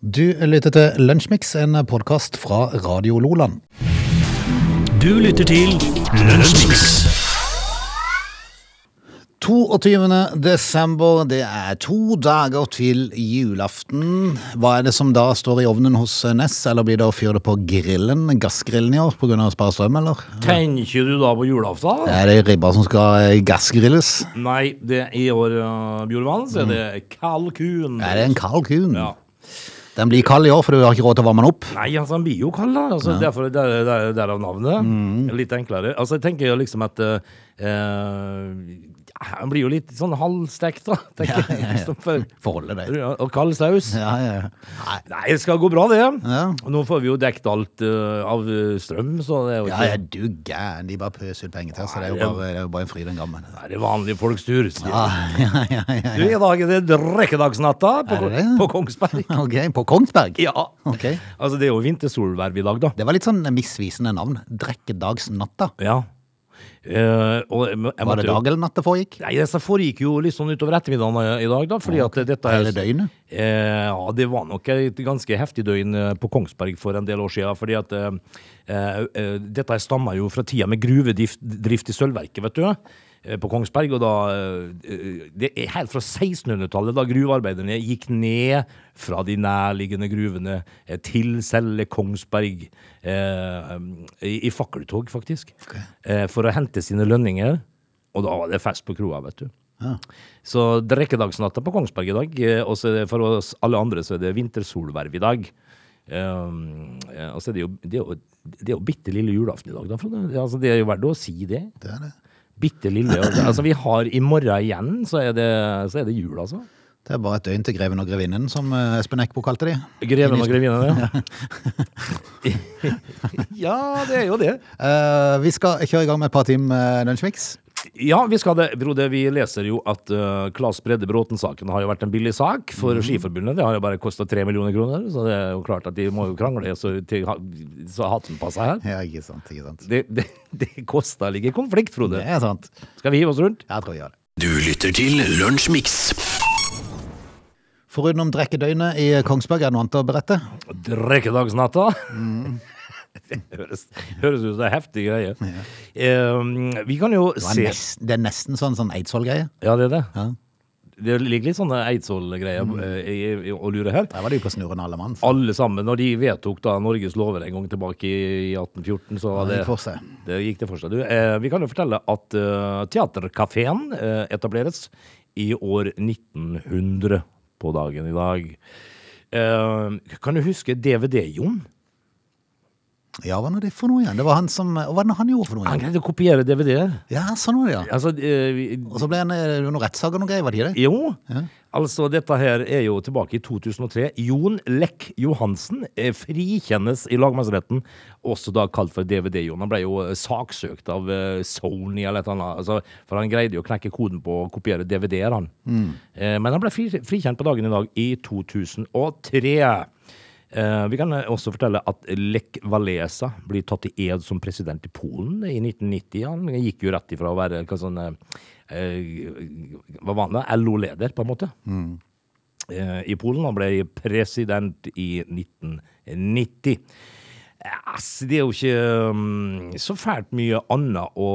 Du lytter til Lunsjmix, en podkast fra Radio Loland. Du lytter til Lunsjmix. 22. desember, det er to dager til julaften. Hva er det som da står i ovnen hos Ness, eller blir det å fyre det på grillen, gassgrillen i år, pga. å spare strøm, eller? Tenker du da på julaften? Er det ribba som skal eh, gassgrilles? Nei, det er i år, uh, Bjørvann, så er det kalkun. Er det en kald kun? Ja. Den blir kald i år, for du har ikke råd til å varme den opp. Nei, altså han blir jo kald, da. Altså, Derfor det er det er- det er av navnet. Litt enklere. Altså, jeg tenker jo liksom at eh, eh, Han blir jo litt sånn halvstekt, da. Tenker jeg. Liksom for- Forholde deg. Ja, Og kald saus. Ja, ja, ja. Nei, det skal gå bra, det. Ja. Og Nå får vi jo dekt alt eh, av eh, strøm, så det er jo Ja, ikke ja, du gæren. De bare pøser ut penger til oss, så det er jo bare, det er jo bare en fryd og en gammen. Nei, Det er vanlige folks tur. sier jeg. Ja, ja, ja, ja. Du, I dag er det drekkedagsnatta på, Er det det? på Kongsberg. Ok, på Kongsberg? Ja. Ok. Altså, det er jo vintersolverv i dag, da. Det var litt sånn misvisende navn. Drekkedagsnatta. Ja. Eh, og jeg, må- jeg Var måtte det jo- dag eller natt det foregikk? Nei, dette foregikk jo litt sånn utover ettermiddagen i dag, da. Fordi at dette er- Hele døgnet? Eh, ja, det var nok et ganske heftig døgn eh, på Kongsberg for en del år siden. Fordi at eh, eh, eh, dette stammer jo fra tida med gruvedrift i sølvverket, vet du. eh, På Kongsberg, og da eh, Det er helt fra 1600-tallet, da gruvearbeiderne gikk ned fra de nærliggende gruvene eh, til selve Kongsberg eh, i, i fakkeltog, faktisk. Eh, for å hente sine lønninger. Og da var det fest på kroa, vet du. Ja. Så drekkedagsnatta på Kongsberg i dag, eh, og så er det for oss alle andre så er det vintersolverv i dag. Um, eh, og så er det jo, det er jo, det er jo bitte lille julaften i dag, da. Frode. Altså, det er jo verdt å si det. Det er det. Bitte lille. og- Altså, vi har i morgen igjen, så er det, så er det jul, altså. Det er bare et døgn til Greven og Grevinnen, som eh, Espen Eckbo kalte de. Greven og grevinnen, ja. ja, det er jo det. Eh, vi skal kjøre i gang med et par timer uh, lunsjmix. Ja, vi skal det. Frode, vi leser jo at eh, Claes Bredde Bråten-saken har jo vært en billig sak for Mhm. Skiforbundet. Det har jo bare kosta tre millioner kroner, så det er jo klart at de må jo krangle så, til, ha- så hatten passer her. Ja, ikke sant, ikke sant. Det, det, det koster like Det konflikt, Frode. er sant. Skal vi hive oss rundt? Jeg tror vi gjør det. Du lytter til Lunsjmix. Foruten om drekkedøgnet i Kongsberg, er det noe annet å berette? Drekkedagsnatta. Mhm. det høres, høres ut som en heftig greie. Eh, vi kan jo Det, var se nesten, det er nesten sånn, sånn Eidsvoll-greie. Ja, det er det. Ja. Mhm. Det ligger litt sånne Eidsvoll-greier eh, i- i- å lure her. Der var det jo på snurren alle mann. alle sammen, når de vedtok da Norges lover en gang tilbake i i 1814, så var Det det, gikk for seg. det gikk det for seg. Du, eh, vi kan jo fortelle at eh, Teaterkafeen eh, etableres i år 1900 på dagen i dag. Eh, kan du huske DVD-Jon? Ja, hva nå det for noe igjen? Det var han som, og hva er det han gjorde for noe Han igjen? greide å kopiere DVD-er. Ja, sånn var det, ja. Altså, eh, vi- Og så ble han, eh, det var noen rettssager og noen greier, var det ikke det? Jo, Ja. altså dette her er jo tilbake i 2003. Jon Lekk Johansen eh, frikjennes i lagmannsretten, også da kalt for DVD-Jon. Han ble jo eh, saksøkt av eh, Sony eller et eller annet, altså, for han greide jo å knekke koden på å kopiere DVD-er han. Eh, Men han ble fri, frikjent på dagen i dag i 2003. Eh, Vi kan eh, også fortelle at Lech Walesa blir tatt i ed som president i Polen i 1990. Han gikk jo rett ifra å være hva sånn eh, eh, Hva var han da? LO-leder, på en måte. Eh, I Polen. Han ble president i 1990. Ass, det er jo ikke mm, så fælt mye annet å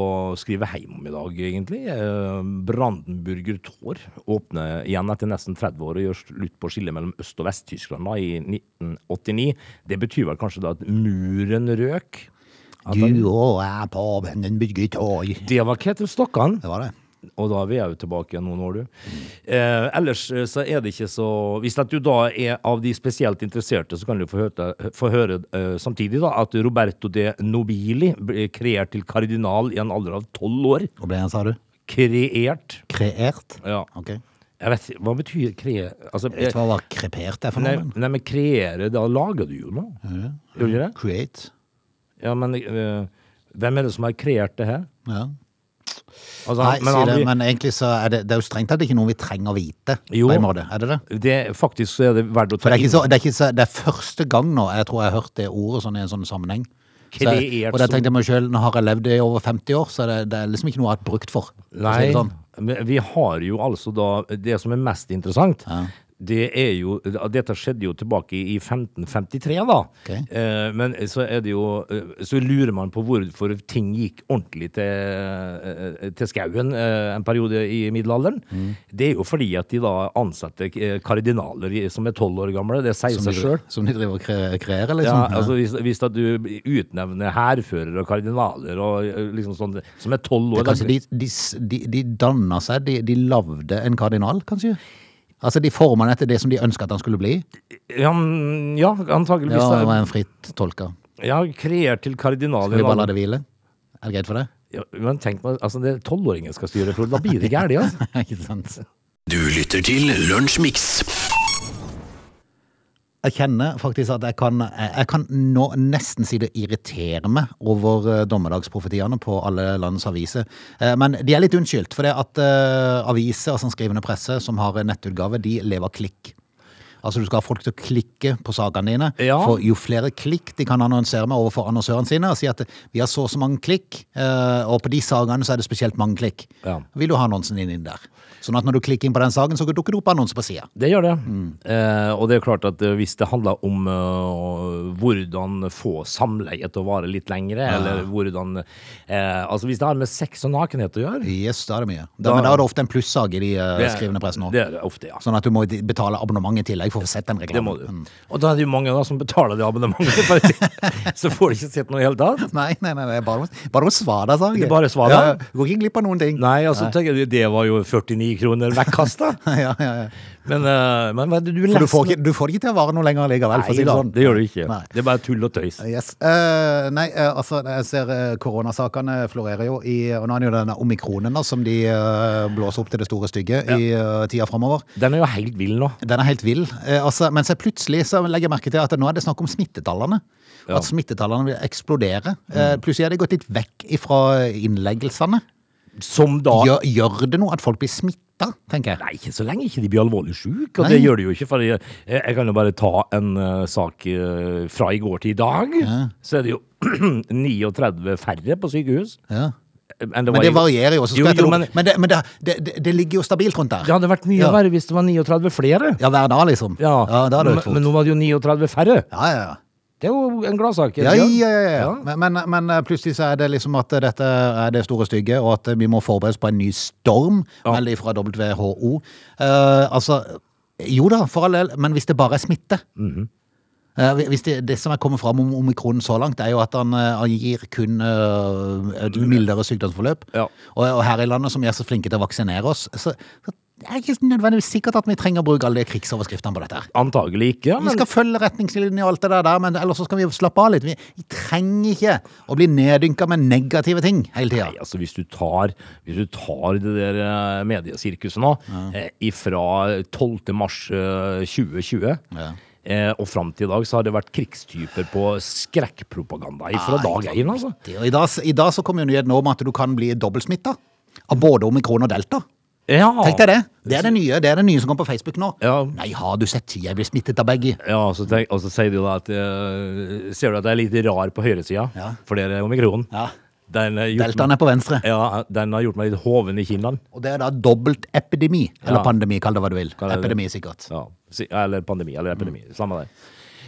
skrive hjem om i dag, egentlig. Eh, Brandenburger Tor åpner igjen etter nesten 30 år og gjør slutt på skillet mellom Øst- og Vest-Tyskland da, i 1989. Det betyr vel kanskje da at muren røk? Du og jeg på Brandenburger Torg. Det var Ketil Stokkan. Det var det. Og da er vi jo tilbake igjen noen år, du. Eh, ellers eh, så er det ikke så Hvis at du da er av de spesielt interesserte, så kan du få høre, få høre eh, samtidig da, at Roberto de Nobili ble kreert til kardinal i en alder av tolv år. Hva ble han, sa du? Kreert. Kreert? Ja. Ok. Jeg vet ikke, Hva betyr kre... Altså, Jeg vet ikke hva krepert er for nei, noe, men nei, men kreere, da lager du jo noe. Gjør du ikke det? create. Ja, men eh, hvem er det som har kreert det her? Ja. Altså, Nei, han- men, han det, blir- men egentlig så er det, det er jo strengt tatt ikke noe vi trenger å vite. Jo. På en måte, er det det? det, faktisk så er det verdt å For ta det er, inn. ikke så, det, er ikke så, det er første gang nå jeg tror jeg har hørt det ordet sånn i en sånn sammenheng. Så jeg, Kreert og da tenkte jeg meg selv, nå har jeg levd i over 50 år, så det, det er liksom ikke noe jeg har hatt brukt for. for å si Nei, det Sånn. men vi har jo altså da Det som er mest interessant, Det er jo, dette skjedde jo tilbake i 1553, da. Ok. Eh, men så er det jo eh, Så lurer man på hvorfor ting gikk ordentlig til, eh, til skauen eh, en periode i middelalderen. Mm. Det er jo fordi at de da ansatte eh, kardinaler i- som er tolv år gamle. Det sier Som seg de, sjøl. som de driver og kre- kreerer, liksom? Ja, altså hvis, hvis at du utnevner hærførere og kardinaler og eh, liksom sånn som er tolv Det år er kanskje de, de, s- de, de danna seg, de, de lagde en kardinal, kanskje? Altså, de forma han etter det som de ønska at han skulle bli? Ja, mm, ja, Det antakeligvis. var, da. var en fritt tolka. Ja, kreert til kardinal. Skal i vi en bare la annen- det hvile? Er det greit for deg? Ja, men tenk meg, altså det er tolvåringen skal styre, Frode. Da blir det gærent, altså. Ikke sant? Du lytter til Lunsjmix. Jeg kjenner faktisk at jeg kan, jeg jeg kan nå nesten si det irriterer meg over eh, dommedagsprofetiene på alle landets aviser. Eh, Men de er litt unnskyldt, for det at eh, aviser, altså en skrivende presse, som har en nettutgave, de lever av klikk. Altså du skal ha folk til å klikke på sakene dine, Ja. for jo flere klikk de kan annonsere med overfor annonsørene sine, og si at vi har så og så mange klikk, eh, og på de sakene så er det spesielt mange klikk. Ja. Vil du ha annonsen din inn der? Sånn at når du klikker inn på den saken, så dukker det opp annonser på siden. Det gjør det. Mm. Eh, og det er klart at eh, hvis det handler om eh, hvordan få samleie til å vare litt lengre, eller hvordan eh, Altså hvis det har med sex og nakenhet å gjøre Yes, da er det mye. Da, Da- men da er det ofte en plussag i de eh, det er- skrivende pressen òg. Det er det ofte, ja. Sånn Mm. at du må de- betale abonnement i tillegg for å få sett den Det må reklamen. du. Og da er det jo mange da som betaler det abonnementet, for å si- så får de ikke sett noe i det hele tatt. Nei, nei, nei, det er bare, bare svada-saken. Det er bare svada? du går ikke glipp av noen ting. Nei, altså tenker jeg, det var jo 49 kroner vekkasta. ja, ja, ja. Men, eh, men hva er det du For leser du får, ikke, du får det ikke til å vare noe lenger likevel, for å Nei si det da, sånn. det gjør du ikke. Nei. Det er bare tull og tøys. Yes. Eh, nei, eh, altså, jeg ser eh, koronasakene florerer jo i Og nå er det jo denne omikronen da, som de eh, blåser opp til det store stygge i eh, tida framover. Den er jo helt vill nå. Den er helt vill. Eh, altså, men så plutselig så legger jeg merke til at nå er det snakk om smittetallene. Og Ja. Mm. At smittetallene vil eksplodere. Eh, plutselig har de gått litt vekk ifra innleggelsene. Som da Gjør, gjør det noe at folk blir smitta, tenker jeg. Nei, ikke så lenge ikke de blir alvorlig syke, Nei. og det gjør de jo ikke. For jeg, jeg kan jo bare ta en eh, sak eh, fra i går til i dag. Så er det jo 39 færre på sykehus. eh, Ja. enn Men var det i- varierer jo. Så Jo, skal jeg jo, til- men men det, men det, det, det, det ligger jo stabilt rundt det der. hadde vært mye Ja. verre hvis det var 39 flere. Ja, hver dag, liksom. Ja, da er det men, jo fort. men nå var det jo 39 færre. Ja, ja, ja. Det er jo en gladsak. Ja, ja, ja, ja. Ja. Men, men, men eh, plutselig så er det liksom at eh, dette er det store stygge, og at eh, vi må forberede oss på en ny storm, veldig fra WHO. Eh, altså, jo da, for all del, men hvis det bare er smitte. Mhm. Eh, hvis det, det som er kommet fram om omikronen så langt, er jo at han, eh, han gir kun eh, et mildere sykdomsforløp. Ja. Og, og her i landet, som vi er så flinke til å vaksinere oss, så, så det er ikke nødvendigvis sikkert at vi trenger å bruke alle de krigsoverskriftene på dette her. Antagelig ikke, Vi men skal følge retningslinjene og alt det der, der, men ellers så skal vi slappe av litt. Vi vi trenger ikke å bli neddynka med negative ting hele tida. Nei, altså hvis du tar, hvis du tar det der eh, mediesirkuset nå, eh, fra 12. mars eh, 2020 Ja. eh, og fram til i dag, så har det vært krigstyper på skrekkpropaganda fra dag én, altså. Det- og I dag, I dag så kom jo nyheten om at du kan bli dobbeltsmitta av både omikron og delta. Ja. Tenk deg det. Det er det nye det er det nye som kommer på Facebook nå. Ja. Nei, har du sett? Jeg blir smittet av begge. Ja, og så, tenk, og så sier de da at eh, Ser du at jeg er litt rar på høyresida? Ja. For det er omikron. Ja. Den, eh, gjort Deltaen er på venstre. meg- ja, den har gjort meg litt hoven i kinnene. Og det er da dobbelt epidemi. Eller Ja. pandemi, kall det hva du vil. det det. Epidemi, sikkert. Ja, si- eller pandemi, eller epidemi. Samme det.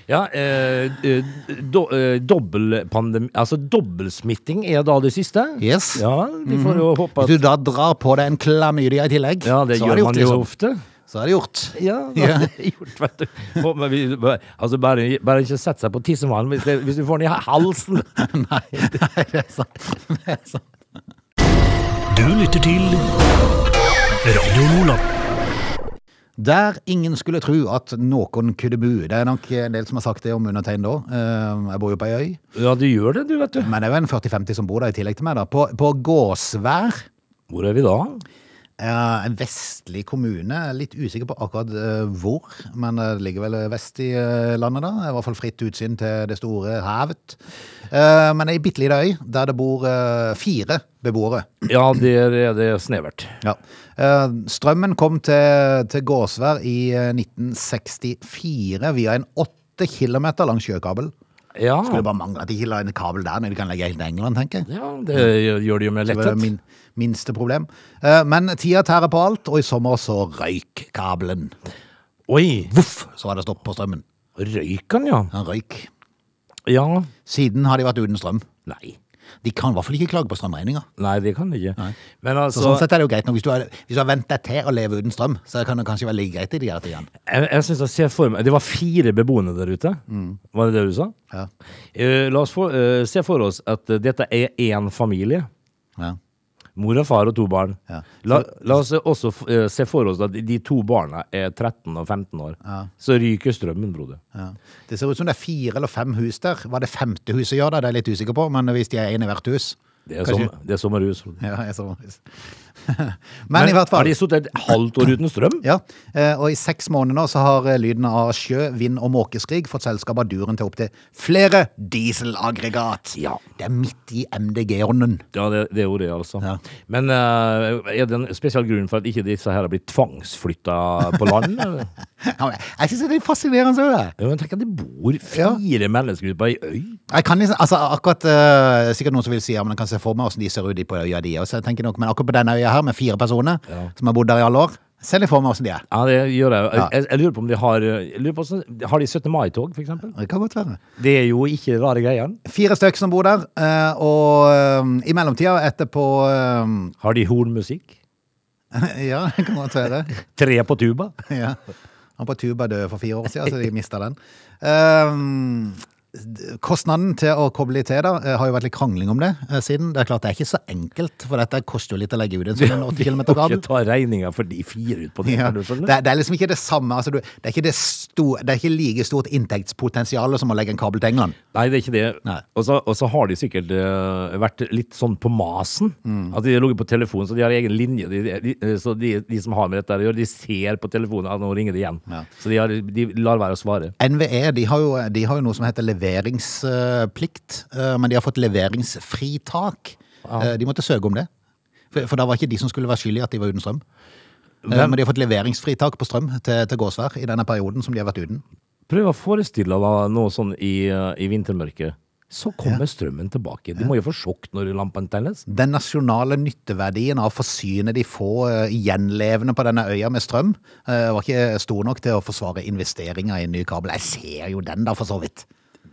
Ja, eh, eh, do, eh, dobbelpandemi Altså dobbelsmitting er da det siste. Yes. Ja, vi får jo håpe Hvis at du da drar på deg en klamydia i tillegg, Ja, det så gjør er det man gjort. jo Liksom. ofte. Så er det gjort. Ja, det er gjort, vet du. Håper vi, altså bare, bare ikke sette seg på tissemalen hvis, det- hvis du får den i halsen. Nei, nei, det er sant. Det er sant. Du lytter til Radio Nordland. Der ingen skulle tro at noen kunne bo. Det er nok en del som har sagt det om undertegnede òg. Jeg bor jo på ei øy, Ja, du gjør det, du, vet du. men det er jo en 40-50 som bor der i tillegg til meg. da. På, på Gåsvær, Hvor er vi da? eh, en vestlig kommune. Jeg er Litt usikker på akkurat eh, hvor, men det ligger vel vest i eh, landet, da. I hvert fall fritt utsyn til det store havet. Eh, Men ei bitte lita øy der det bor eh, fire beboere. Ja, der er det snevert. Ja. Eh, Strømmen kom til, til Gåsvær i eh, 1964 via en åtte kilometer lang sjøkabel. Ja, Skulle bare mangle at de ikke la en kabel der når de kan legge helt til England, tenker jeg. ja det gjør det jo med Det var letthet. min minste problem. Eh, Men tida tærer på alt, og i sommer så røyk kabelen. Oi! Voff, så var det stopp på strømmen. Røyk han, ja. Han røyk. Ja. Siden har de vært uten strøm. Nei. De kan i hvert fall ikke klage på strømregninga. Nei, det kan det ikke. Men Så, altså, sånn sett er det jo greit nok. Hvis du har, hvis du har vent deg til å leve uten strøm, så kan det kanskje være like greit i de her tidene. jeg, jeg synes jeg ser for meg Det var fire beboende der ute. Mm. Var det det du sa? Ja. Eh, la oss få, eh, se for oss at eh, dette er én familie. Ja. Mor og far og to barn. Ja. La, la oss også f- eh, se for oss at de to barna er 13 og 15 år. Så ryker strømmen, broder. Ja. Det ser ut som det er fire eller fem hus der. Hva det femte huset gjør, da, det er jeg litt usikker på, men hvis de er én i hvert hus Det er, Kanskje- som, det er sommerhus. broder. Ja, jeg så hus. men i hvert fall. Har de sittet et halvt år uten strøm? Ja, eh, og i seks måneder nå så har eh, lyden av sjø, vind og måkeskrig fått selskap av duren til opptil flere dieselaggregat. Ja. Det er midt i MDG-ånden. Ja, det, det gjorde jeg, altså. Ja. Men eh, er det en spesiell grunn for at ikke disse her har blitt tvangsflytta på land? eller? Ja, men Jeg synes det er fascinerende. så det. Ja, men tenk at det bor fire mennesker ute på ei øy. Jeg kan liksom, altså akkurat, eh, sikkert noen som vil si ja, men jeg kan se for meg hvordan de ser ut i på øya de. Og så tenker jeg nok, men akkurat på denne øya her med fire personer Ja. som har bodd der i alle år, ser de for meg hvordan de er. Ja, det gjør jeg. Ja. Jeg, jeg, lurer på om de har jeg lurer på, hvordan- Har de 17. mai-tog, for eksempel? Det kan godt være. Det er jo ikke rare greiene. Fire stykk som bor der, eh, og eh, i mellomtida etterpå eh, Har de hornmusikk? Ja, det kan godt være. Tre på tuba? ja. Han på tuba døde for fire år siden, så de mista den. Ehm, d- kostnaden til å koble til da, eh, har jo vært litt krangling om det eh, siden. Det er klart det er ikke så enkelt, for dette koster jo litt å legge ut en sånn 80 km kabel. Ikke ta regninga for de fire ut på det. Ja. kan du skjønne? Det, er- det er liksom ikke det samme. Altså, du, det, er ikke det, sto, det er ikke like stort inntektspotensial som å legge en kabel til England. Nei, det er ikke det. Nei. Og så, og så har de sikkert eh, vært litt sånn på masen. At de har ligget på telefonen, så de har egen linje. De, de, eh, så de, de som har med dette å gjøre, de ser på telefonen at nå ringer det igjen. Ja. Så de, har, de lar være å svare. NVE E, de har, jo, de har jo noe som heter leveringsplikt, eh, men de har fått leveringsfritak. Eh, De måtte søke om det. For, for da var ikke de som skulle være skyldige at de var uten strøm. Eh, Hvem- Men de har fått leveringsfritak på strøm til, til Gåsvær i denne perioden som de har vært uten. Prøv å forestille deg noe sånn i, eh, i vintermørket. Så kommer strømmen tilbake. De må jo få sjokk når lampen tennes. Den nasjonale nytteverdien av å forsyne de få eh, gjenlevende på denne øya med strøm, eh, var ikke stor nok til å forsvare investeringer i en ny kabel. Jeg ser jo den da, for så vidt.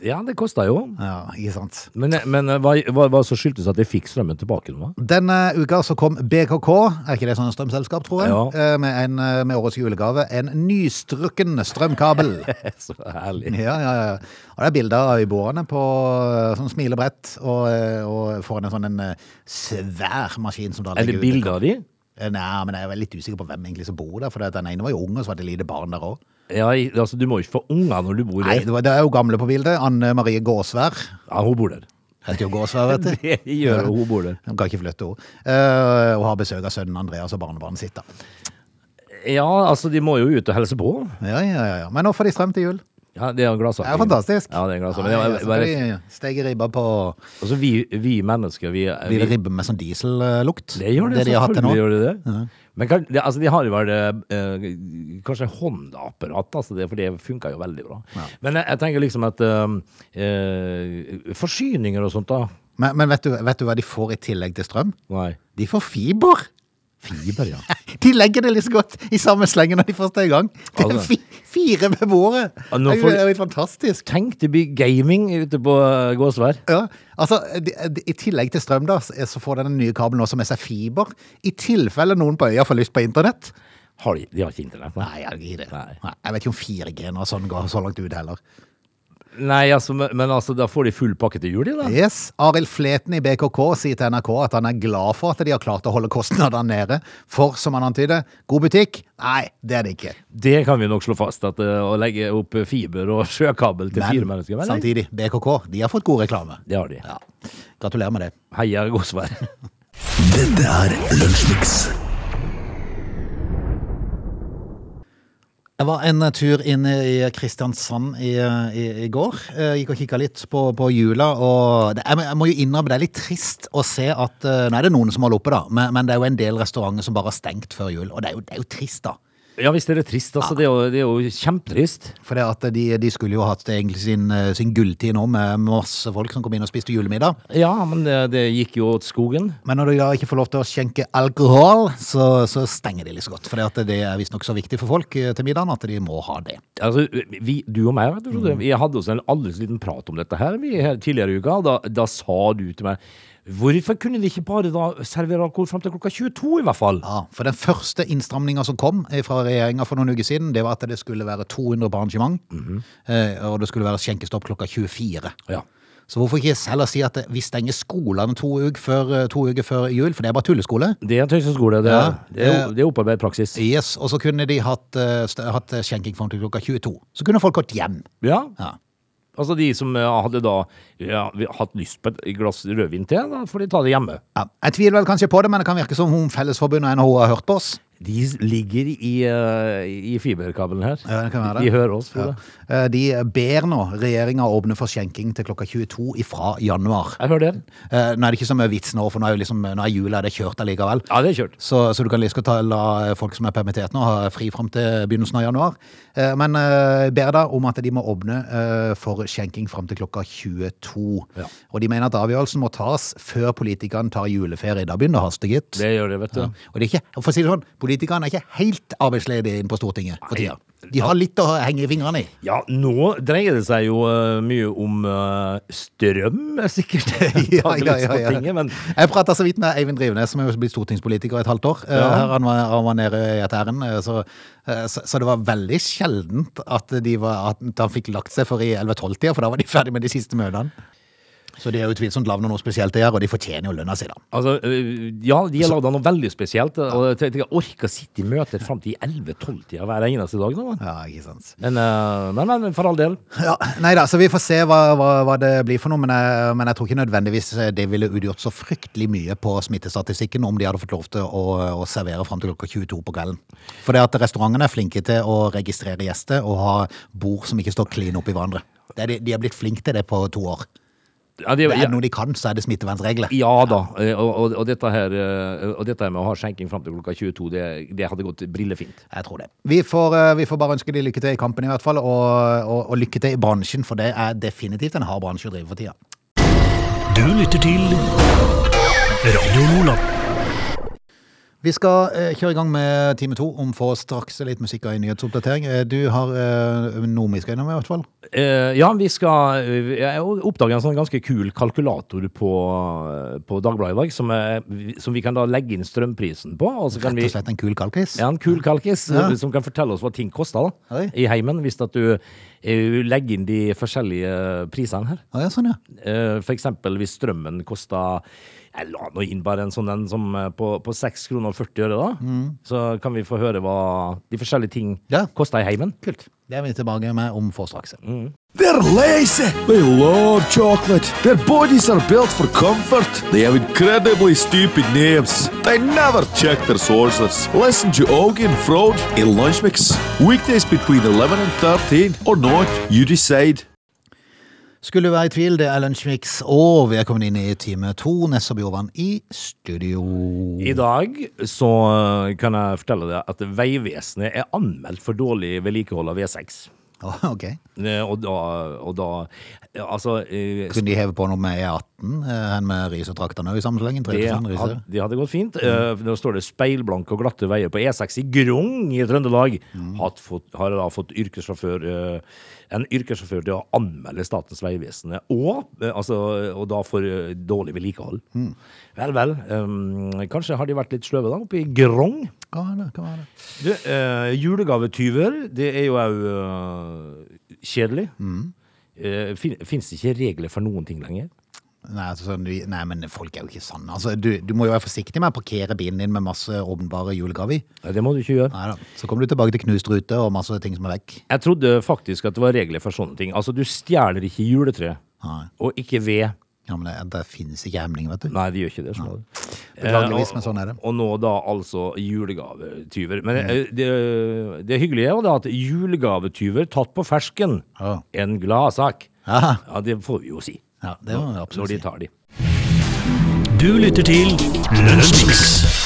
Ja, det kosta jo. Ja, ikke sant? Men, men eh, hva, hva, hva så skyldtes at de fikk strømmen tilbake nå? da? Denne uka så kom BKK, er ikke det sånn strømselskap, tror jeg, Ja. Eh, med, en, eh, med årets julegave, en nystrukken strømkabel. Så herlig. Ja, ja, ja. Og det er bilder av øyboerne på eh, sånn smilebrett, og, eh, og foran en sånn en eh, svær maskin som da Er det legger ut. bilder av de? Eh, Nei, men jeg er litt usikker på hvem egentlig som bor der, for den ene var jo ung, og så var det lite barn der også. Ja, i- altså, du må jo ikke få unger når du bor Nei, der. det, var, det er jo gamle på bildet, Anne Marie Gåsvær. Ja, hun bor der. Heter jo Gåsvær, vet du. Det gjør hun, hun bor der. Hun kan ikke flytte henne. Eh, og har besøk av sønnen Andreas og barnebarnet sitt da. Ja, altså de må jo ut og helse på. Ja, ja, ja, ja. Men nå får de strøm til jul. Ja, Det er en gladsak. Det er jo fantastisk. Ja, det er en gladsak. Men Nei, det var altså, bare, de steker ribba på altså, vi, vi mennesker, vi, vi Blir det ribbe med sånn diesellukt? Det gjør det, de har hatt til nå. selvfølgelig gjør det det. Men kan, det, altså, de har jo vel eh, kanskje håndapparat, altså det, for det funka jo veldig bra. Men jeg, jeg tenker liksom at eh, eh, Forsyninger og sånt, da. Men, men vet, du, vet du hva de får i tillegg til strøm? Nei. De får fiber! Fiber, ja. De legger det liksom godt i samme slengen når de først er i gang. Det er Altså. fi, fire beboere! Ja, Det nå er jo- får- det er jo helt fantastisk. Tenk, det blir gaming ute på eh, Gåsvær. Ja, altså de, de, I tillegg til strøm, da, eh, så så får den nye kabelen også med seg fiber. I tilfelle noen på øya får lyst på internett. Har de, de har ikke internett? Nei, jeg, gidder ikke Nei. det. Nei, jeg vet ikke om 4G og sånn går så langt ut heller. Nei, altså, men, men altså, da får de full pakke til jul, de, da. Yes, Arild Fleten i BKK sier til NRK at han er glad for at de har klart å holde kostnadene nede. For, som han antyder, god butikk? Nei, det er det ikke. Det kan vi nok slå fast, at eh, å legge opp fiber og sjøkabel til fire mennesker men, nei, samtidig, BKK de har fått god reklame. Det har de. Ja. Gratulerer med det. Heia Gåsvær. Dette er Lunsjmix. Jeg var en eh, tur inne i Kristiansand i, eh, i, i går. Eh, Gikk og kikka litt på, på jula. Og det, jeg, må- jeg må jo innrømme det er litt trist å se at eh, Nå er det noen som holder oppe, da, men, men det er jo en del restauranter som bare har stengt før jul. Og det er jo, det er jo trist, da. Ja visst er det trist, altså. Det er jo, det er jo kjempetrist. For det at de, de skulle jo hatt egentlig sin, eh, sin gulltid nå med masse folk som kom inn og spiste julemiddag. Ja, men det, det gikk jo åt skogen. Men når de da ikke får lov til å skjenke alkohol, så, så stenger de litt så godt. For det at det er visstnok så viktig for folk eh, til middagen at de må ha det. Altså, vi, du og meg, vet du, Frode, vi hadde også en aldri så liten prat om dette her, vi, her tidligere i uka. Da, da sa du til meg Hvorfor kunne de ikke bare da servere alkohol fram til klokka 22, i hvert fall? Ja, for den første innstramninga som kom eh, fra regjeringa for noen uker siden, det var at det skulle være 200 på arrangement, eh, og det skulle være skjenkestopp klokka 24. Ja. Så hvorfor ikke heller si at eh, vi stenger skolene to uker før, eh, to uker før jul, for det er bare tulleskole? Det er en tøyseskole. Det, Ja. er- det, er- det er opparbeidet praksis. Yes, og så kunne de hatt, eh, st- hatt eh, skjenking fram til klokka 22. Så kunne folk gått hjem. Ja. Ja. Altså de som eh, hadde da ja, vi- hatt lyst på et glass rødvin til, da får de ta det hjemme. Ja. Jeg tviler vel kanskje på det, men det kan virke som om Fellesforbundet og NHO har hørt på oss. De ligger i, eh, i fiberkabelen her. Ja, det kan være det. De hører oss, Ja. Frode. Eh, De ber nå regjeringa åpne for skjenking til klokka 22 ifra januar. Jeg hører dere. Eh, Nå er det ikke så mye vits nå, for nå er, jo liksom, nå er jula det er kjørt allikevel. Ja, det er kjørt. Så, så du kan like godt ta- la folk som er permittert nå, ha fri fram til begynnelsen av januar. Eh, Men eh, ber da om at de må åpne eh, for skjenking fram til klokka 22. Ja. Og de mener at avgjørelsen må tas før politikerne tar juleferie. Da begynner det å haste, gitt. Det gjør det, vet du. Ja. Og det er ikke, for å si det sånn, politikerne er ikke helt arbeidsledige inne på Stortinget for Nei. tida. De har litt å henge i fingrene i. Ja, nå dreier det seg jo eh, mye om eh, strøm, er sikkert. antageligvis på tinget, Men Jeg prata så vidt med Eivind Drivenes, som er jo blitt stortingspolitiker i et halvt år. eh, Ja. Her han var, han var nede i et ærend, eh, så, eh, så, så det var veldig sjeldent at, de var, at han fikk lagt seg for i 11-12-tida, for da var de ferdig med de siste møtene. Så de er utvilsomt lavt noe spesielt de gjør, og de fortjener jo lønna si, da. altså, eh, ja, de har lagd noe veldig spesielt. eh, Og jeg tenkte, jeg orker å sitte i møter fram til 11-12-tida hver eneste dag. nå. Ja, ikke sant. Men, eh, men, men for all del. Ja, nei da, så vi får se hva, hva, hva det blir for noe, men jeg, men jeg tror ikke nødvendigvis eh, det ville utgjort så fryktelig mye på smittestatistikken om de hadde fått lov til å, å servere fram til klokka 22 på kvelden. For det at restaurantene er flinke til å registrere gjester og ha bord som ikke står klin oppi hverandre. Det er, de- de har blitt flinke til det på to år. Ja, det, Er ja, det noe de kan, så er det smittevernregler. ja da. eh, Og, og, og, dette her, eh, og dette her med å ha skjenking fram til klokka 22, det, det hadde gått brillefint. Jeg tror det. Vi får, eh, vi får bare ønske de lykke til i kampen i hvert fall, og, og, og lykke til i bransjen, for det er definitivt en hard bransje å drive for tida. Du lytter til Radio Nordland. Vi skal eh, kjøre i gang med time to om få straks litt musikk og en nyhetsoppdatering. Eh, du har eh, noe vi skal innom i hvert fall. Eh, ja, vi skal eh, Jeg oppdaga en sånn ganske kul kalkulator på, eh, på Dagbladet i dag, som, er, som vi kan da legge inn strømprisen på. Og så kan Rett vi og slett en kul kalkis. ja, en kul kalkis eh, Ja. som kan fortelle oss hva ting koster da, Oi. i heimen, hvis at du eh, legger inn de forskjellige prisene her. Å, ja, sånn ja. Eh, For eksempel hvis strømmen kosta Jeg la nå inn bare en sånn en som eh, på, på 6 kroner og 40 øre, da. Så kan vi få høre hva de forskjellige ting Mm. Ja. kosta i heimen. Kult. Det er vi tilbake med om få straks. They're lazy. They love chocolate. Their bodies are built for comfort. They have incredibly stupid names. They never check their sources. Listen to Augie and Frode in Lunch Mix. Weekdays between 11 and 13 or not, you decide. Skulle du være i tvil, det er Lunsjmix, og vi er kommet inn i time to. Ness og Bjorvann i studio. I dag så eh, kan jeg fortelle deg at Vegvesenet er anmeldt for dårlig vedlikehold av V6. Å, ok. Eh, Og da, og da eh, Altså eh, Kunne de heve på noe med E18, eh, hen med risetraktene i sammenslengen? det, 3% had- riser. det hadde gått fint. Eh, Nå står det speilblanke og glatte veier på E6 i Grong i Trøndelag. Hatt fått, har da fått yrkessjåfør, eh, en yrkessjåfør til å anmelde Statens vegvesen, og, eh, altså, og da for eh, dårlig vedlikehold. Vel, vel. eh, kanskje har de vært litt sløve da, oppe i Grong. Hva er det? Hva er det? Du, eh, julegavetyver, det er jo òg eh, kjedelig. Mm. Eh, fin, Fins det ikke regler for noen ting lenger? Nei, altså, sånn, vi- nei, men folk er jo ikke sanne. Altså, du, du må jo være forsiktig med å parkere bilen din med masse åpenbare julegaver. i. Nei, Det må du ikke gjøre. Neida. Så kommer du tilbake til knust rute og masse ting som er vekk. Jeg trodde faktisk at det var regler for sånne ting. Altså, du stjeler ikke juletre, Nei. og ikke ved. Ja, men det, det finnes ikke hemning, vet du. Nei, de gjør ikke det. skjønner du. Beklageligvis, Eh, men sånn er det. Mm. Og, og nå da altså julegavetyver. Men eh, det, det hyggelige er jo da at julegavetyver tatt på fersken, Ja. en gladsak. Ja, Ja, det får vi jo si. ja det må jeg absolutt Når de si. tar de. Du lytter til Lunsjmix.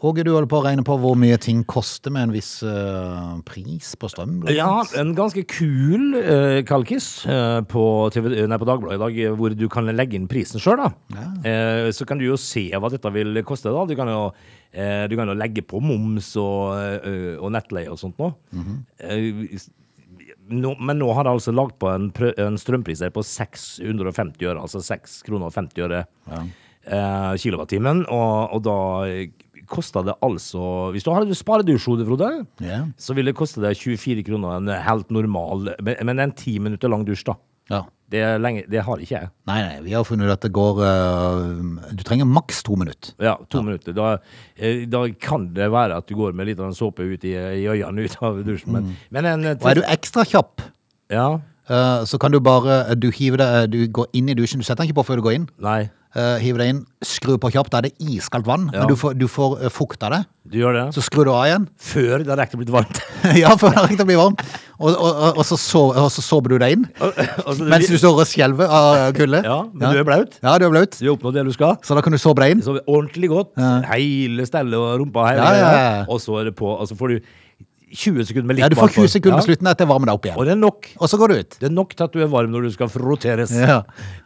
Åge, du holder på å regne på hvor mye ting koster med en viss eh, pris på strøm? blant Ja, annet. en ganske kul eh, kalkis eh, på, TV, eh, nei, på Dagbladet i dag, eh, hvor du kan legge inn prisen sjøl. Eh, så kan du jo se hva dette vil koste. da. Du kan jo, eh, du kan jo legge på moms og, eh, og nettleie og sånt nå. Eh, s- nå. Men nå har de altså lagt på en, prø en strømpris her på 650 øre, altså 6 kroner og 50 øre eh, kilowattimen. Og, og da eh, koster det altså Hvis du har et sparedusjhode, Frode Ja. så vil det koste deg 24 kroner en helt normal, men men en ti minutter lang dusj da. ja. Det, er lenge, det har ikke jeg. Nei, nei, vi har funnet ut at det går eh, Du trenger maks to minutter. Ja, to minutter. Da, eh, da kan det være at du går med litt av en såpe ut i, i øynene ut av dusjen, men, men en... eh, Mm. Og er du ekstra kjapp, Ja, eh, så kan du bare Du hiver deg eh, Du går inn i dusjen. Du setter den ikke på før du går inn. nei, Eh, hiver deg inn, skru på kjapt. Da er det iskaldt vann. Ja. Men du får, du får eh, fukt av det. du gjør det. Så skrur du av igjen. Før det har riktig blitt varmt. ja, for det er riktig å bli varm. Og, og, og, og, så, sov, og så sover du deg inn. Altså, det- Mens du står og skjelver av kulde. Ja, men du er blaut. Ja, du er blaut. Du har oppnådd det du skal. Så da kan du sove deg inn. Så ordentlig godt. Ja. Hele stellet og rumpa hele. Ja, ja, ja. Og så er det på, og så får du 20 sekunder med Ja, litt du får bakpå. 20 sekunder Ja. på slutten etter å varme deg opp Og igjen. det er nok. Og så går du ut. Det er nok til at du er varm når du skal froteres. Ja.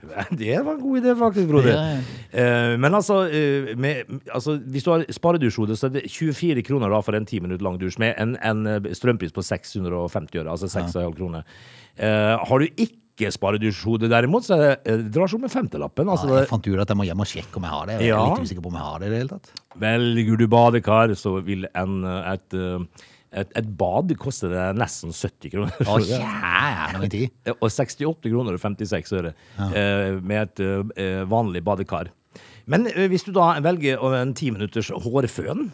Det var en god idé, faktisk, broder. Ja, Eh, men altså, eh, med, altså, hvis du har sparedusjhode, så er det 24 kroner da for en 10 minutter lang dusj med en, en eh, strømpris på 650 øre, altså 6,5 kroner. Eh, har du ikke sparedusjhode derimot, så er det, eh, drar seg om med femtelappen. Altså, Ja, jeg det, fant ut at jeg må hjem og sjekke om jeg har det. Jeg er Ja. litt usikker på om jeg har det i det hele tatt. velger du badekar, så vil en, eh, et, eh, et, et bad koste deg nesten 70 kroner. Å, jævla min tid. Eh, Og 68 kroner og 56 øre eh, med et eh, vanlig badekar. Men eh, hvis du da velger å- en ti minutters hårføn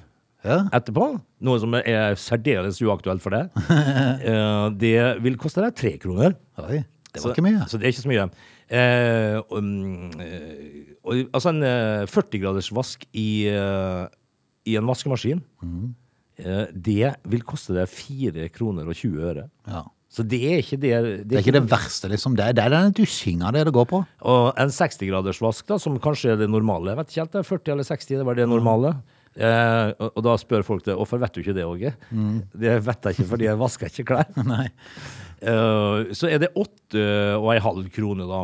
Ja. etterpå, noe som er særdeles uaktuelt for deg, eh, det vil koste deg tre kroner. Oi, det Så- var ikke mye. Så det er ikke så mye. Eh, og, mm, eh, og, altså en eh, 40-graders vask i, eh, i en vaskemaskin, Mm. eh, det vil koste deg 4 kroner og 20 øre. Ja. Så det er ikke det Det er ikke det verste, liksom. Det er, det er den dusjinga det det går på. Og en 60-graders vask, da, som kanskje er det normale. Jeg vet ikke helt, det er 40 eller 60, det var det normale. Eh, og, og da spør folk det. Hvorfor vet du ikke det, Åge? Det vet jeg ikke, fordi jeg vasker ikke klær. Nei. Eh, så er det eh, 8,5 kroner, da.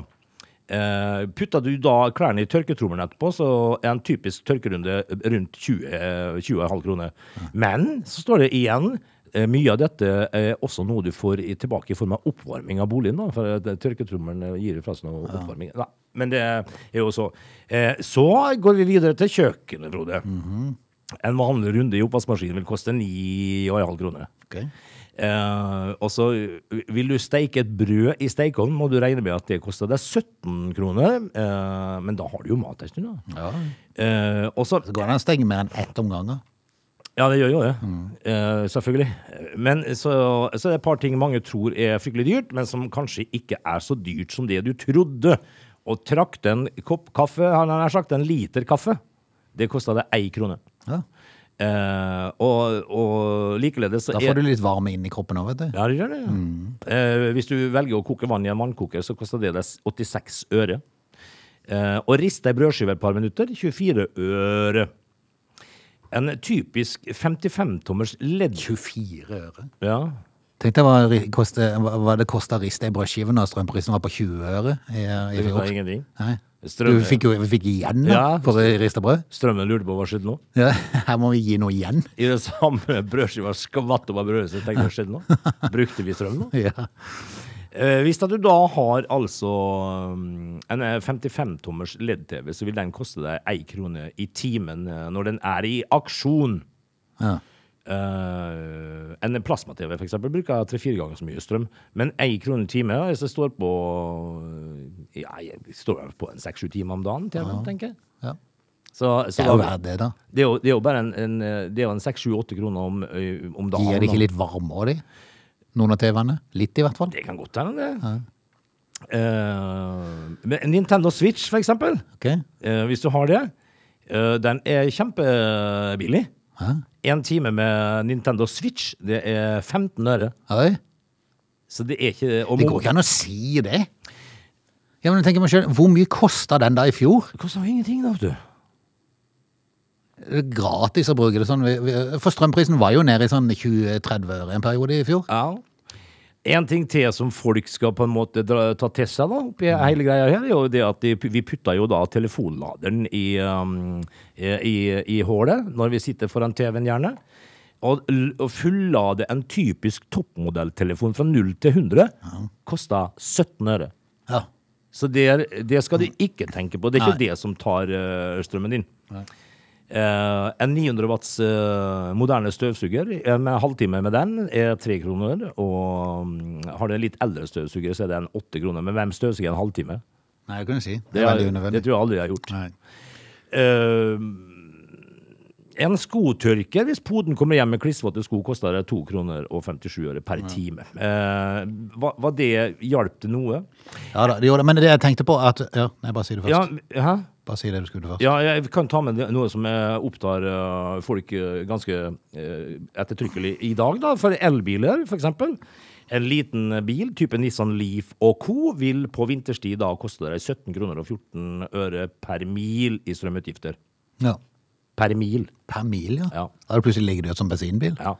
Eh, putter du da klærne i tørketrommelen etterpå, så er en typisk tørkerunde rundt 20, eh, 20,5 kroner. Men så står det igjen eh, mye av dette er også noe du får i, tilbake i form av oppvarming av boligen. da, For at, eh, tørketrommelen gir fra seg noe oppvarming. Nei, men det er jo så. Eh, så går vi videre til kjøkkenet, Frode. En vanlig runde i oppvaskmaskinen vil koste 9,5 kroner. Ok. Eh, og så vil du steike et brød i steikeovn, må du regne med at det koster deg 17 kroner. Eh, men da har du jo mat en stund, da. Ja. Eh, og så Så går det an å stenge mer enn ett omganger. Ja, det gjør jo det. Mm. Eh, selvfølgelig. Men så, så er det et par ting mange tror er fryktelig dyrt, men som kanskje ikke er så dyrt som det du trodde. Å trakte en kopp kaffe, han har nær sagt en liter kaffe, det kosta deg ei krone. Ja. Eh, og, og likeledes så Da får du litt varme inn i kroppen òg, vet du. Ja, det gjør det. ja. Eh, hvis du velger å koke vann i en vannkoker, så koster det deg 86 øre. Eh, og rist ei brødskive et par minutter 24 øre. En typisk 55-tommers ledd... 24 øre. Ja. Tenk deg hva, ri- koste, hva hva det kosta å riste i brødskiven da strømprisen var på 20 øre i, i Det koster fjor. ingenting. Nei. Strøm- Du fikk jo vi fikk igjen da, Ja. for rista brød. Strømmen lurte på hva skjedde nå. Ja, her må vi gi noe igjen. I det samme brødskiva skvatt over brødet sitt. Tenkte jeg, hva skjedde nå? Brukte vi strøm nå? Ja. Eh, hvis at du da har altså um, en eh, 55-tommers LED-TV, så vil den koste deg ei krone i timen eh, når den er i aksjon. Ja. Eh, en plasma-TV for eksempel bruker tre-fire ganger så mye strøm, men ei krone i timen hvis det står på eh, ja, jeg står vel på en seks-sju timer om dagen, TV, tenker jeg. Ja. Så, Det så er jo da- verdt det, da. det er jo- det er jo bare en, en eh, Det er jo en seks-sju-åtte kroner om, eh, om dagen. Gir det da. ikke litt varme òg, de? Noen av TV-ene? Litt, i hvert fall. Det kan godt hende, det. Eh, men Nintendo Switch, for eksempel, Ok? eh, hvis du har det, eh, den er kjempebillig. Hæ? Én time med Nintendo Switch, det er 15 øre. Oi. Så det er ikke og Det går ikke an å si det. Ja, men jeg tenker meg selv, Hvor mye kosta den da i fjor? Det koster jo ingenting, da, vet du. gratis å bruke det sånn. Vi- vi- For strømprisen var jo nede i sånn 20-30 øre en periode i fjor. Ja. En ting til som folk skal på en måte dra, ta til seg da, oppi hele greia her, er jo det at de, vi putter jo da telefonladeren i, um, i, i hålet når vi sitter foran TV-en gjerne. Og, l- og fullade en typisk toppmodelltelefon fra 0 til 100 koster 17 øre. Ja. Så det, er, det skal du ikke tenke på. Det er ikke Mm. Nei. det som tar eh, strømmen din. Eh, en 900 watts eh, moderne støvsuger, en halvtime med den, er tre kroner. Og mm, har du en litt eldre støvsuger, så er den åtte kroner. Men hvem støvsuger en halvtime? Nei, det kan du si. Det Det, er har- veldig det unødvendig. tror jeg aldri jeg har gjort. Nei. Eh, en skotørker, hvis poden kommer hjem med klissvåte sko, koster det 2 kroner og 57 øre per time. Eh, hva, hva det hjalp til noe? Ja da, det gjorde det. Men det jeg tenkte på, at Ja, nei, bare si det først. Ja, hæ? Bare si det du skulle først. Ja, jeg kan ta med det- noe som eh, opptar eh, folk eh, ganske eh, ettertrykkelig i dag, da. For elbiler, for eksempel. En liten bil, type Nissan Leaf og co., vil på vinterstid da koste deg 17 kroner og 14 øre per mil i strømutgifter. Ja. Per mil. Per mil, ja. Ja. Da er det plutselig ligger du ut som bensinbil. Ja.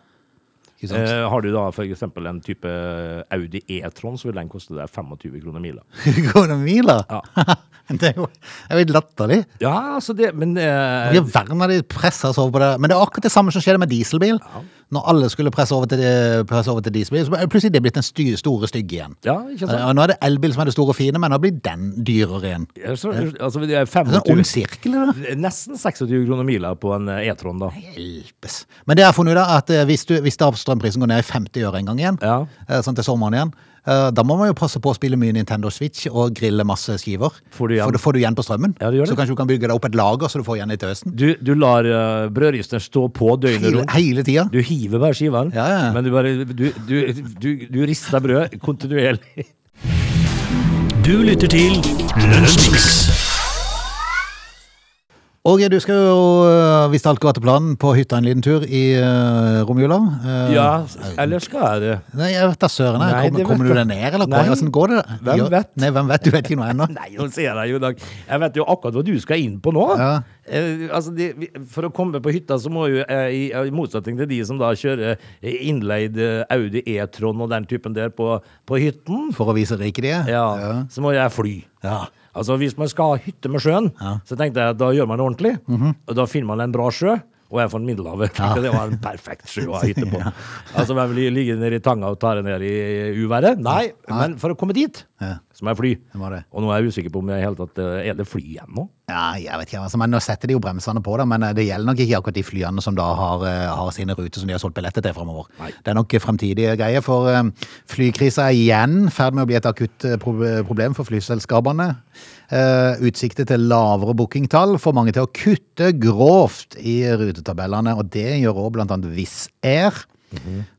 Ikke sant? Eh, har du da for eksempel en type Audi E-tron, så vil den koste deg 25 kroner mila. Går det miler? Ja. det er jo det er jo helt latterlig. Ja, altså det Men eh, Vi har verden av de presser oss over på det. Men det er akkurat det samme som skjedde med dieselbil. Når alle skulle presse over til, eh, presse over til dieselbil, så er plutselig det blitt den sty, store stygge igjen. Ja, ikke sant? Eh, Og nå er det elbil som er det store og fine, men nå blir den dyrere igjen. Det Jeg så- Altså, det er er Sånn 25 ond sirkel, det der. Nesten 26 kroner mila på en eh, E-tron, da. Hjelpes. Men det jeg har funnet ut, er at eh, hvis, du, hvis da strømprisen går ned i 50 øre en gang igjen, Ja. eh, sånn til sommeren igjen, eh, da må man jo passe på å spille mye Nintendo Switch og grille masse skiver. Får du igjen. For da får du igjen på strømmen. Ja, du gjør det. Så kanskje du kan bygge deg opp et lager så du får igjen litt til høsten. Du, du lar uh, brødristeren stå på døgnet Hele, rundt. hele tida. Du hiver bare skiven, Ja, ja. men du, bare, du, du, du, du rister brød kontinuerlig. Du lytter til Lunsjmix. Og du skal jo, øh, hvis alt går etter planen, på hytta en liten tur i øh, romjula. Øh, Ja, eller skal jeg det? Nei, jeg vet da søren. jeg. Nei, Kommer, det vet kommer du jeg. deg ned, eller? Nei. Nei. Hvordan går det? Hvem Ja, vet? Nei, hvem vet? Du vet ikke noe ennå. Nei, nå sier jeg det jo, Dag. Jeg vet jo akkurat hva du skal inn på nå. Ja. Eh, altså, de, vi- for å komme på hytta, så må jo eh, i, i motsetning til de som da kjører eh, innleid eh, Audi E-tron og den typen der på, på hytten, For å vise rike de er. ja, så må jeg fly. Ja. Altså Hvis man skal ha hytte med sjøen, så tenkte jeg at da gjør man det ordentlig. Mhm. Og Da finner man en bra sjø. Og jeg fant Middelhavet. Det var en perfekt sjø å ha hytte på. Altså, Hvem vil ligge nede i tanga og ta det ned i uværet? Nei, men for å komme dit, Ja. så må jeg fly. Det må det. Og nå er jeg usikker på om jeg i hele tatt eh, Er det fly igjen nå? ja, jeg vet ikke. Altså, men nå setter de jo bremsene på, da. Men øh, det gjelder nok ikke akkurat de flyene som da har, øh, har sine ruter som de har solgt billetter til framover. Nei. Det er nok fremtidige greier. For øh, flykrisa er igjen i ferd med å bli et akutt øh, prob- problem for flyselskapene. Eh, Utsikter til lavere bookingtall får mange til å kutte grovt i rutetabellene, og det gjør òg bl.a. Wizz Air.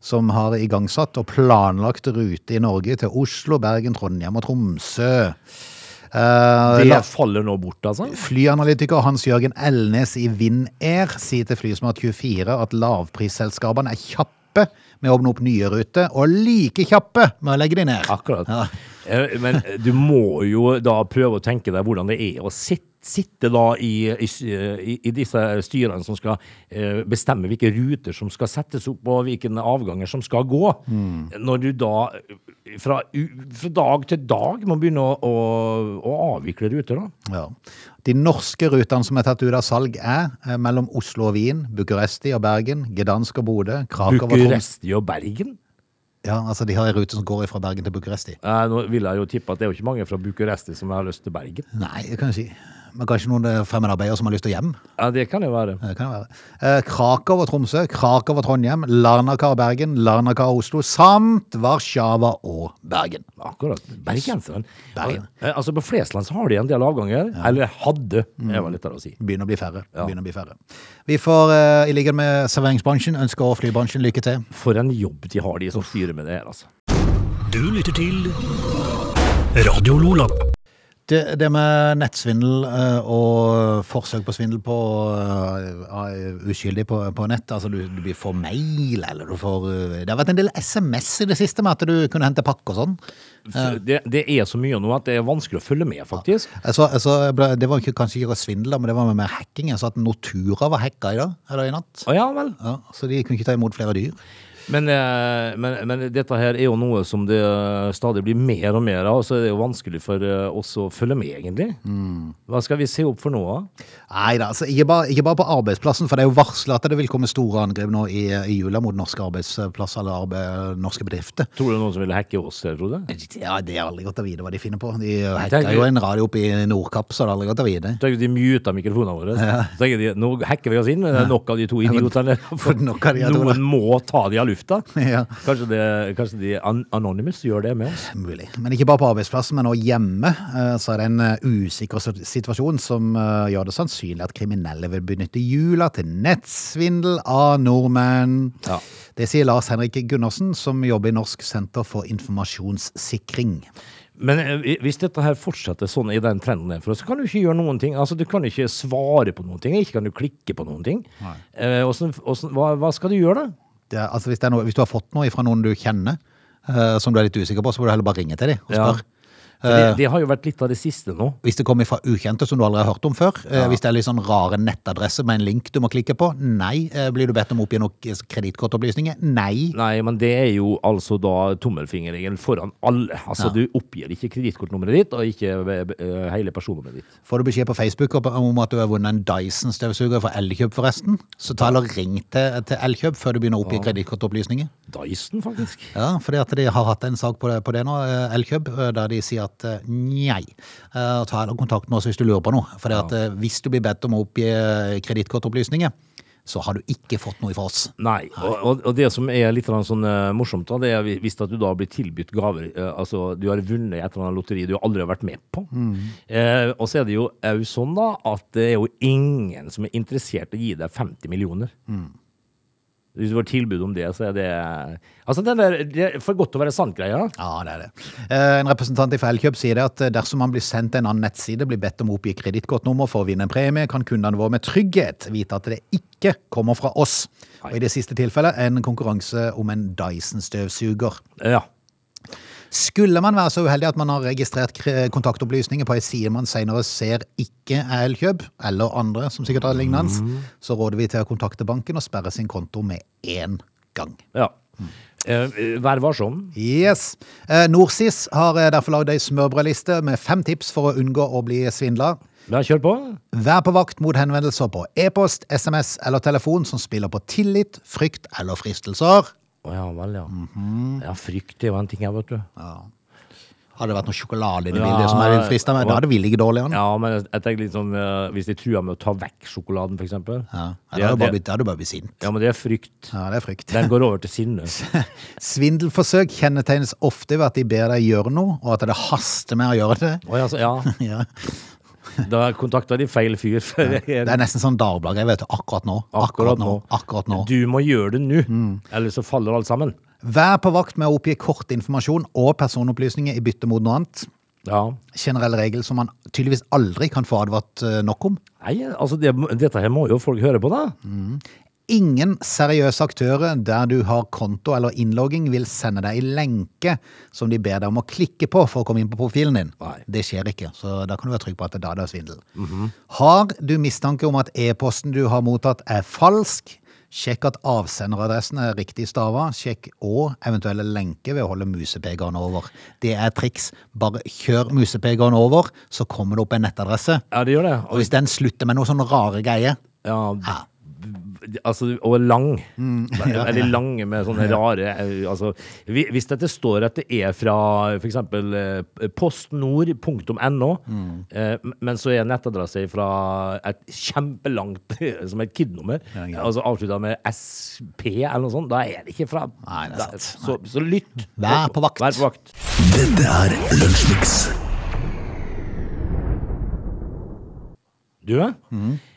Som har igangsatt og planlagt rute i Norge til Oslo, Bergen, Trondheim og Tromsø. Eh, Det la- faller nå bort, altså. Flyanalytiker Hans-Jørgen Elnes i Vind Air sier til Flysmart 24 at lavprisselskapene er kjappe med å åpne opp nye ruter, og like kjappe med å legge de ned. Akkurat. Ja. Eh, Men du må jo da prøve å tenke deg hvordan det er å sitte, sitte da i, i, i- i disse styrene som skal eh, bestemme hvilke ruter som skal settes opp, og hvilke avganger som skal gå. Mm. Når du da eh, fra, u- fra dag til dag må begynne å, å, å avvikle ruter, da. Ja. De norske rutene som er tatt ut av salg er eh, mellom Oslo og Wien, Bucuresti og Bergen, Gdansk og Bodø, Krakow og Troms. Bucuresti og Bergen. Ja, altså de har en rute som går fra Bergen til Bucuresti. Eh, nå vil jeg jo tippe at det er jo ikke mange fra Bucuresti som har lyst til Bergen. Nei, det kan jeg si. Men kanskje noen eh, fremmedarbeidere som har lyst til å hjem? Ja, det kan jo være. Det kan det være. Eh, Krakow og Tromsø, Krakow og Trondheim, Larnaca og Bergen, Larnaca og Oslo, samt Warszawa og Bergen. Akkurat. Bergenseren. Bergen. Al- eh, Altså På Flesland så har de en del avganger. Eller hadde, det var litt av å si. Begynner å bli færre. Ja. Begynner å bli færre. Vi får, eh, i likhet med serveringsbransjen, ønske og flybransjen lykke til. For en jobb de har, de som styrer med det her, altså. Du lytter til Radio Lola. Det, det med nettsvindel eh, og forsøk på svindel på eh, av uskyldig på, på nett, altså du, du blir- får mail eller du får eh, Det har vært en del SMS i det siste med at du kunne hente pakke og sånn. Så Det, det er så mye nå at det er vanskelig å følge med, faktisk. Jeg så, jeg så, jeg ble, det var ikke, kanskje ikke svindel, da, men det var med, med hacking. Jeg så at Nortura var hacka i dag, eller i natt. Å ja vel. Ja, så de kunne ikke ta imot flere dyr. Men, eh, men, men dette her er jo noe som det eh, stadig blir mer og mer av, så er det jo vanskelig for eh, oss å følge med, egentlig. Hva skal vi se opp for nå, da? Nei da, altså, ikke, bare, ikke bare på arbeidsplassen, for det er jo varsla at det vil komme store angrep nå i, i jula mot norske arbeidsplasser eller arbe- norske bedrifter. Tror du det er noen som vil hacke oss, jeg tror det? Ja, Det er aldri godt å vite hva de finner på. De hacka tenker- jo en radio oppe i Nordkapp, så det er aldri godt å vite. Tenk at de muta mikrofonene våre. Så tenker de, nå hacker vi oss inn, men det er nok av de to idiotene. for nok av de her to, da. Noen må ta de av lufta. Ja. Kanskje, det, kanskje de an Anonymous gjør det med oss. Mulig. Men ikke bare på arbeidsplassen, men også hjemme eh, så er det en eh, usikker sit- situasjon som eh, gjør det sannsynlig at kriminelle vil benytte jula til nettsvindel av nordmenn. Ja. Det sier Lars Henrik Gundersen, som jobber i Norsk senter for informasjonssikring. Men eh, hvis dette her fortsetter sånn i den trenden der, for oss, så kan du ikke gjøre noen ting. Altså, du kan ikke svare på noen ting, ikke kan du klikke på noen ting. Eh, hvordan, hvordan, hva, hva skal du gjøre da? Det er, altså hvis, det er noe, hvis du har fått noe fra noen du kjenner, eh, som du er litt usikker på, så bør du heller bare ringe til dem og Ja. spørre. For Det, det har jo vært litt av det siste nå. Hvis det kommer fra ukjente som du aldri har hørt om før, eh, hvis det er litt sånn rare nettadresser med en link du må klikke på, nei. Eh, Blir du bedt om å oppgi noen kredittkortopplysninger? Nei. Nei, men det er jo altså da tommelfingerregelen foran alle. Altså, du oppgir ikke kredittkortnummeret ditt, og ikke eh, hele personnummeret ditt. Får du beskjed på Facebook opp- om at du har vunnet en Dyson-støvsuger fra Elkjøp forresten, så ta eller ring til, til Elkjøp før du begynner å oppgi kredittkortopplysninger. Dyson, faktisk. Ja, fordi at de har hatt en sak på det, på det nå, eh, Elkjøp, eh, der de sier at eh, nei, eh, ta heller kontakt med oss hvis du lurer på noe. For at eh, hvis du blir bedt om å oppgi eh, kredittkortopplysninger, så har du ikke fått noe fra oss. Nei, og, og- og det som er litt grann sånn eh, morsomt, da, det er vi- hvis at du da blir tilbudt gaver eh, Altså, du har vunnet et eller annet lotteri du aldri har vært med på. Eh, og så er det jo òg sånn, da, at det er jo ingen som er interessert i å gi deg 50 millioner. Hvis du får tilbud om det, så er det Altså, den der, det er for godt til å være sant-greia. Ja, det er det. Eh, En representant i Elkjøp sier det at eh, dersom man blir sendt til en annen nettside, blir bedt om å oppgi kredittkortnummer for å vinne en premie, kan kundene våre med trygghet vite at det ikke kommer fra oss. Og i det siste tilfellet en konkurranse om en Dyson-støvsuger. Ja. Skulle man være så uheldig at man har registrert kre- kontaktopplysninger på ei side man senere ser ikke er Elkjøp, eller andre som sikkert har lignende, så råder vi til å kontakte banken og sperre sin konto med én gang. ja. Eh, eh, vær varsom. Yes. Eh, Norsis har eh, derfor lagd ei smørbrødliste med fem tips for å unngå å bli svindla. Ja, kjør på. Vær på vakt mot henvendelser på e-post, SMS eller telefon som spiller på tillit, frykt eller fristelser. Å ja vel, ja. Mhm. Ja, frykt det var en ting her, vet du. Hadde det vært noe sjokolade inni Ja. bildet som jeg ville frista med, da hadde vi ligget dårlig an. Ja, men jeg jeg tenker litt sånn eh, Hvis de truer med å ta vekk sjokoladen, f.eks. Ja. Da hadde du bare blitt- da hadde du bare blitt sint. ja, men det er frykt. Ja, det er frykt. Den går over til sinne. Svindelforsøk kjennetegnes ofte ved at de ber deg gjøre noe, og at det haster med å gjøre det. Å, ja, så, ja, Ja. da kontakta de feil fyr. For Det er nesten sånn Dagbladet jeg vet du, akkurat nå. Akkurat nå. Akkurat nå. Mm. Du må gjøre det nå, ellers så faller alt sammen. Vær på vakt med å oppgi kortinformasjon og personopplysninger i bytte mot noe annet. Ja. Generell regel som man tydeligvis aldri kan få advart eh, nok om. Nei, altså det, dette her må jo folk høre på, da. Ingen seriøse aktører der du har konto eller innlogging vil sende deg en lenke som de ber deg om å klikke på for å komme inn på profilen din. Nei. Mhm. Det skjer ikke, så da kan du være trygg på at det er da det er svindel. Har du mistanke om at e-posten du har mottatt er falsk, sjekk at avsenderadressen er riktig stava, sjekk og eventuelle lenker ved å holde musepegeren over. Det er et triks. Bare kjør musepegeren over, så kommer det opp en nettadresse. Ja, det gjør det. Og hvis den slutter med noe sånn rare greier, Ja, Altså, og lang. Mm. Eller lange med sånne rare eh, altså, hvi- Hvis dette står at det er fra eh, f.eks. postnord.no, Mm. eh, m- men så er nettadresse fra et kjempelangt som et KID-nummer, altså avslutta med SP eller noe sånt, da er det ikke fra Nei, det er da- sant. Så, så lytt. Vær på vakt. Vær på vakt. Dette er Lunsjmix. Du, ja.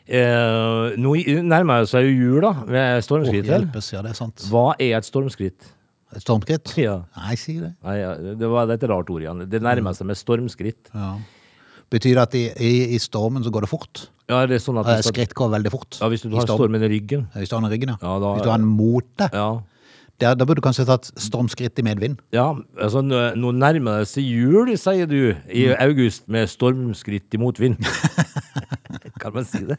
Eh, nå i- nærmer det seg jo jul, da, med stormskritt. her. hjelpes, ja, det er sant. Hva er et stormskritt? Et stormskritt? Ja. Nei, si det. Nei, ja, det var et rart ord igjen. Det nærmer seg med stormskritt. Betyr det at i, i, i stormen så går det fort? Ja, det er sånn at Eh, hvis, at, Skritt går veldig fort. ja, hvis du I har storm. stormen i ryggen Hvis du har den i ryggen, ja. Ja, da- Hvis du har den mot deg. Ja, Da, da burde du kanskje tatt stormskritt i medvind. ja altså nå nå nærmer det seg jul, sier du, i Mm. august med stormskritt i motvind. kan man si det?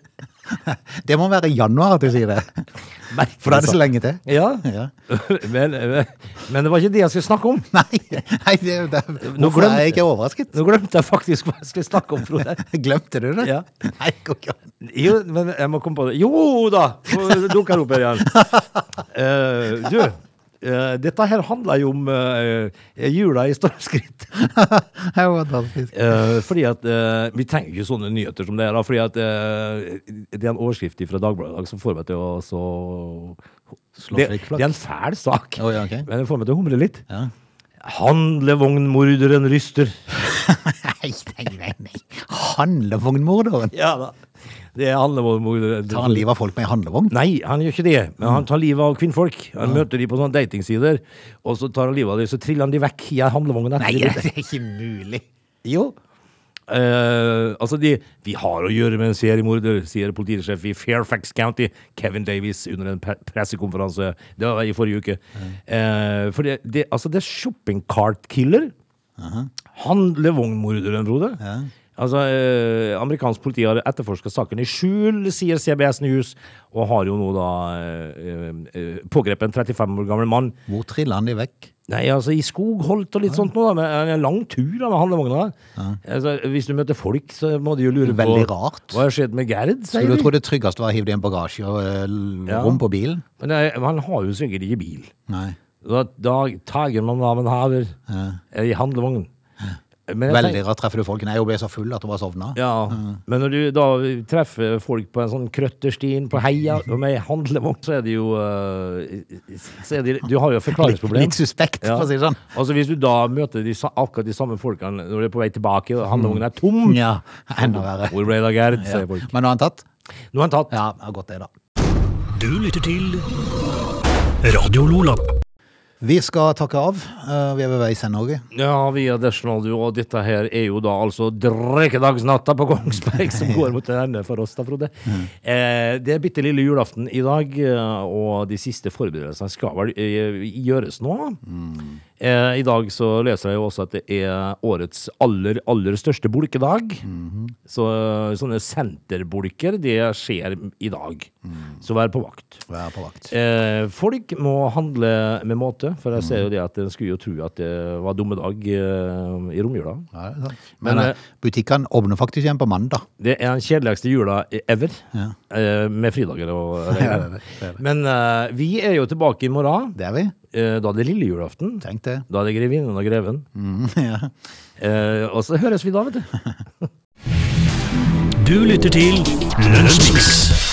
Det må være i januar at du sier det, Merkelig for da er det sak. så lenge til. Ja, Ja. men, men det var ikke det jeg skulle snakke om. Nei, nei det, det, Nå hvorfor er glemte- jeg ikke overrasket? Nå glemte jeg faktisk hva jeg skulle snakke om, Frode. Glemte du det? Ja. Nei, går ikke an. Jo, men jeg må komme på det. Jo da! Så dukker det opp her igjen. Eh, du, eh, dette her handler jo om eh, jula i stormskritt. Det var fantastisk. Eh, fordi at eh, Vi trenger ikke sånne nyheter som det her. da, Fordi at eh, Det er en overskrift fra Dagbladet i dag som får meg til å så Slå det, flikk flakk. det er en fæl sak, Å, ja, ok. men det får meg til å humre litt. Ja. Handlevognmorderen ryster. Nei, nei, nei, nei. Handlevognmorderen. Ja da. Det er handlevognmorderen. Tar han livet av folk med en handlevogn? Nei, han gjør ikke det, men Mm. han tar livet av kvinnfolk. Han møter de på sånne datingsider, og så tar han livet av dem, så triller han de vekk i en handlevogn. etter Nei, de det brukte. er ikke mulig. Jo. Eh, altså, de, vi har å gjøre med en seriemorder, sier politisjef i Fairfax County, Kevin Davies, under en pre- pressekonferanse Det var i forrige uke. Eh, for det, det, altså, det er shopping cart killer. Handlevognmorderen, Frode. Altså, eh, amerikansk politi har etterforska saken i skjul, sier CBS News, og har jo nå da eh, eh, pågrepet en 35 år gammel mann. Hvor triller han de vekk? Nei, altså i skogholt og litt sånt nå, da. Men en lang tur da, med handlevogna. Altså, hvis du møter folk, så må de jo lure på Veldig rart. Hva har skjedd med Gerd, sier Skulle du de. tro det tryggeste var å hive det i en bagasje og eh, l- Ja. rom på bilen? Men eh, han har jo sikkert ikke bil. Nei. Da, da tager man av en haver eh, i handlevogn. Men jeg Veldig tenker- rart treffer du folk. Nei, jeg ble så full at hun bare sovna. Ja, men når du da treffer folk på en sånn krøtterstien på heia og med handlevogn, så er det jo eh, så er det, Du har jo et Litt, forklaringsproblem. litt suspekt, Ja. for å si det sånn. Altså Hvis du da møter de, sa- akkurat de samme folkene når de er på vei tilbake, og handlevognen er tom Mm, Ja, enda verre. Hvor ble det av Gerd, sier folk. Men nå er han tatt? Nå er han tatt. Ja, det er godt det, da. Du lytter til Radio Lola. Vi skal takke av. Eh, vi er ved veis ende, Åge. Ja, vi er Deschnall, du, og dette her er jo da altså drikkedagsnatta på Kongsberg som går mot en ende for oss, da, Frode. Eh, det er bitte lille julaften i dag, eh, og de siste forberedelsene skal vel eh, gjøres nå. Eh, I dag så leser jeg jo også at det er årets aller, aller største bulkedag. Så eh, sånne senterbulker, det skjer i dag. Så vær på vakt. Vær på vakt. Eh, folk må handle med måte, for jeg ser jo det at en skulle jo tro at det var dumme dag eh, i romjula. Ja, det er sant. Men, Men, eh, eh, butikkene åpner faktisk igjen på mandag. Det er den kjedeligste jula e-, ever, Ja. eh, med fridager og Ja, det er det, det er Men eh, vi er jo tilbake i morgen. Det er vi. Eh, da er det lille julaften. Tenk det. Da er det grevinnen og greven. Mm, ja. Eh, og så høres vi da, vet du. Du lytter til Lunsjmix.